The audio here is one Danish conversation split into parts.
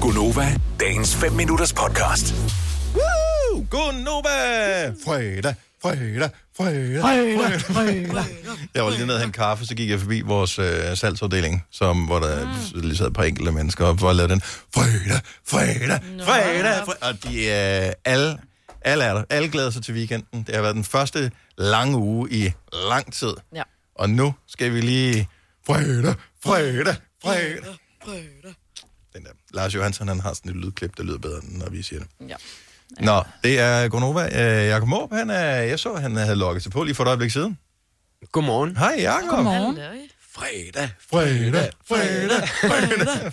Gunova, dagens 5 minutters podcast. Woo! God Nova! Fredag, fredag, fredag, fredag, fredag. Jeg var lige nede og hente kaffe, så gik jeg forbi vores øh, salgsafdeling, som, hvor der mm. lige sad et par enkelte mennesker op, hvor lavede den fredag, fredag, fredag, fredag. Og de øh, alle, alle er der. Alle glæder sig til weekenden. Det har været den første lange uge i lang tid. Ja. Og nu skal vi lige fredag, fredag, fredag. Den der. Lars Johansson, han har sådan et lydklip, der lyder bedre, end når vi siger det. ja. Nå, det er Gonova. Øh, Jakob Måb, han er, jeg så, han havde logget sig på lige for et øjeblik siden. Godmorgen. Hej, Jakob. Morgen. Fredag. Fredag, fredag, fredag.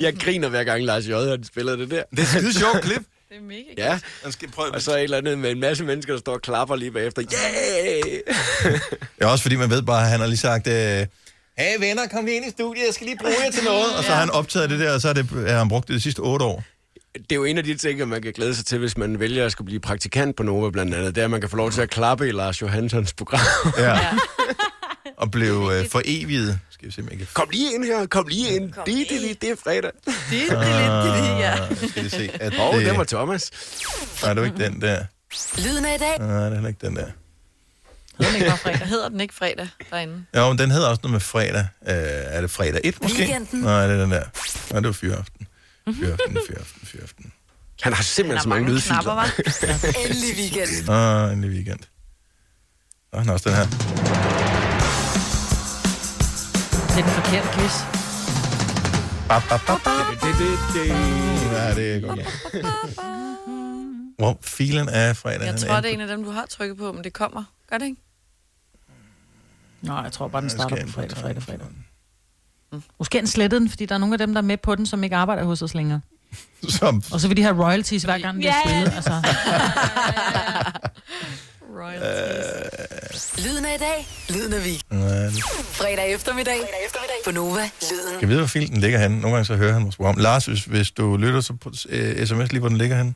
Jeg griner hver gang Lars J. han spiller det der. Det er et skide sjovt klip. Det er mega godt. Ja, Man skal prøve. og så et eller andet med en masse mennesker, der står og klapper lige bagefter. Yeah! Ja, også fordi man ved bare, at han har lige sagt, øh, hey venner, kom lige ind i studiet, jeg skal lige bruge jer til noget. Og så har han optaget det der, og så er det, har han brugt det de sidste otte år. Det er jo en af de ting, at man kan glæde sig til, hvis man vælger at skulle blive praktikant på Nova blandt andet. Det er, at man kan få lov til at klappe i Lars Johanssons program. Ja. Og blev øh, foreviget. Skal vi se, om jeg kan... Kom lige ind her, kom lige ind. Kom Det, det, ind. det, det er fredag. Det, det er lidt det, ja. Ah, skal vi se, at det... Åh, oh, det var Thomas. Nej, det var ikke den der. Lyden af i dag. Nej, det er heller ikke den der. Den ikke bare fredag. Hedder den ikke fredag derinde? Ja, men den hedder også noget med fredag. Øh, er det fredag 1 måske? Weekenden. Nej, det er den der. Nej, det var fyraften. Mhm. Fyraften, fyraften, fyraften. Han har simpelthen så mange knapper, lydfiler. hva'? Endelig weekend. Og en weekend. Og han har også den her. Det er den forkerte quiz. Bap, bap, bap. Ja, det er godt. Wow, filen er fredag. Jeg den tror, inde det er en på- af dem, du har trykket på, men det kommer. Gør det ikke? Nå, jeg tror bare, den Jeg skal starter ind på på fredag, fredag, fredag. telefonen. Måske han slettede den, fordi der er nogle af dem, der er med på den, som ikke arbejder hos os længere. Som, Og så vil de have royalties hver gang, de har Ja. spillet. Altså. Royalties. Lyden af i dag. Lyden af weekend. nej, det- Fredag eftermiddag. Fredag eftermiddag. På Nova. Lyden. jeg ved, hvor filen den ligger henne. Nogle gange så hører han vores program. Lars, hvis, hvis du lytter, så uh, sms lige, hvor den ligger henne.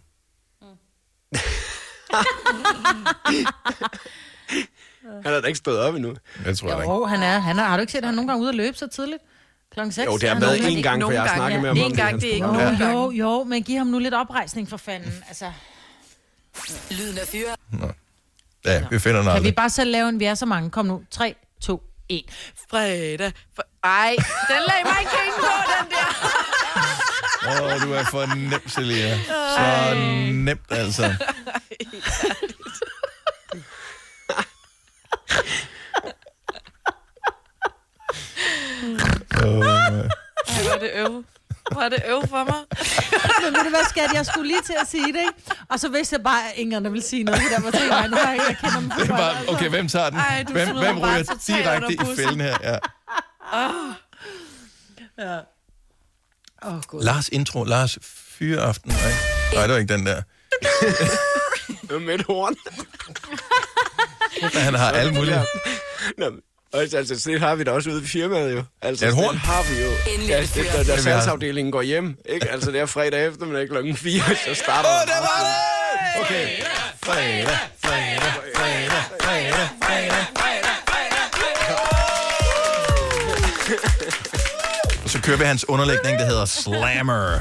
Han har da ikke stået op endnu. Jeg tror jeg ikke. Jo, han er, han er. Har du ikke set, at han nogle gange er ude at løbe så tidligt? Klokken 6? Jo, det har været nogen- én gang, for nogle jeg har gange, snakket ja. med ham Én om det. gang, i hans det er ikke program. nogen. Jo, jo, jo, men giv ham nu lidt oprejsning for fanden. Altså, Lyden af fyre. Ja, vi finder den kan vi aldrig. bare selv lave en vi er så mange? Kom nu. 3, 2, 1. Fredag. Fre- Ej, den lagde mig ikke penge på, den der. Åh, oh, du er for nem, Celia. Så nemt, altså. Oh, Ej, hvor er det øv. Hvor er det øv for mig. Men ved du hvad, skat? Jeg skulle lige til at sige det, ikke? Og så vidste jeg bare, at ingen ville sige noget. Der var ting, jeg nu har jeg ikke, jeg kender dem. for det er godt, bare, altså. øh, okay, hvem tager den? Ej, du hvem smider hvem mig bare ryger totalt direkte under i bussen. fælden her? Ja. Åh, oh, gud. Lars intro, Lars fyraften. Nej. Nej, det var ikke den der. Med et horn. Han har alle mulige. Nå, men, også, altså, sådan et har vi da også ude i firmaet jo. Altså, Ja, et sådan horn. et har vi jo. Endelig Ja, et fyr. efter, da salgsafdelingen går hjem, ikke? Altså, det er fredag eftermiddag klokken 4, så starter Åh, oh, der var det! Okay. Fredag, fredag, fredag, fredag, fredag, fredag, fredag. Så kører vi hans underlægning, der hedder Slammer.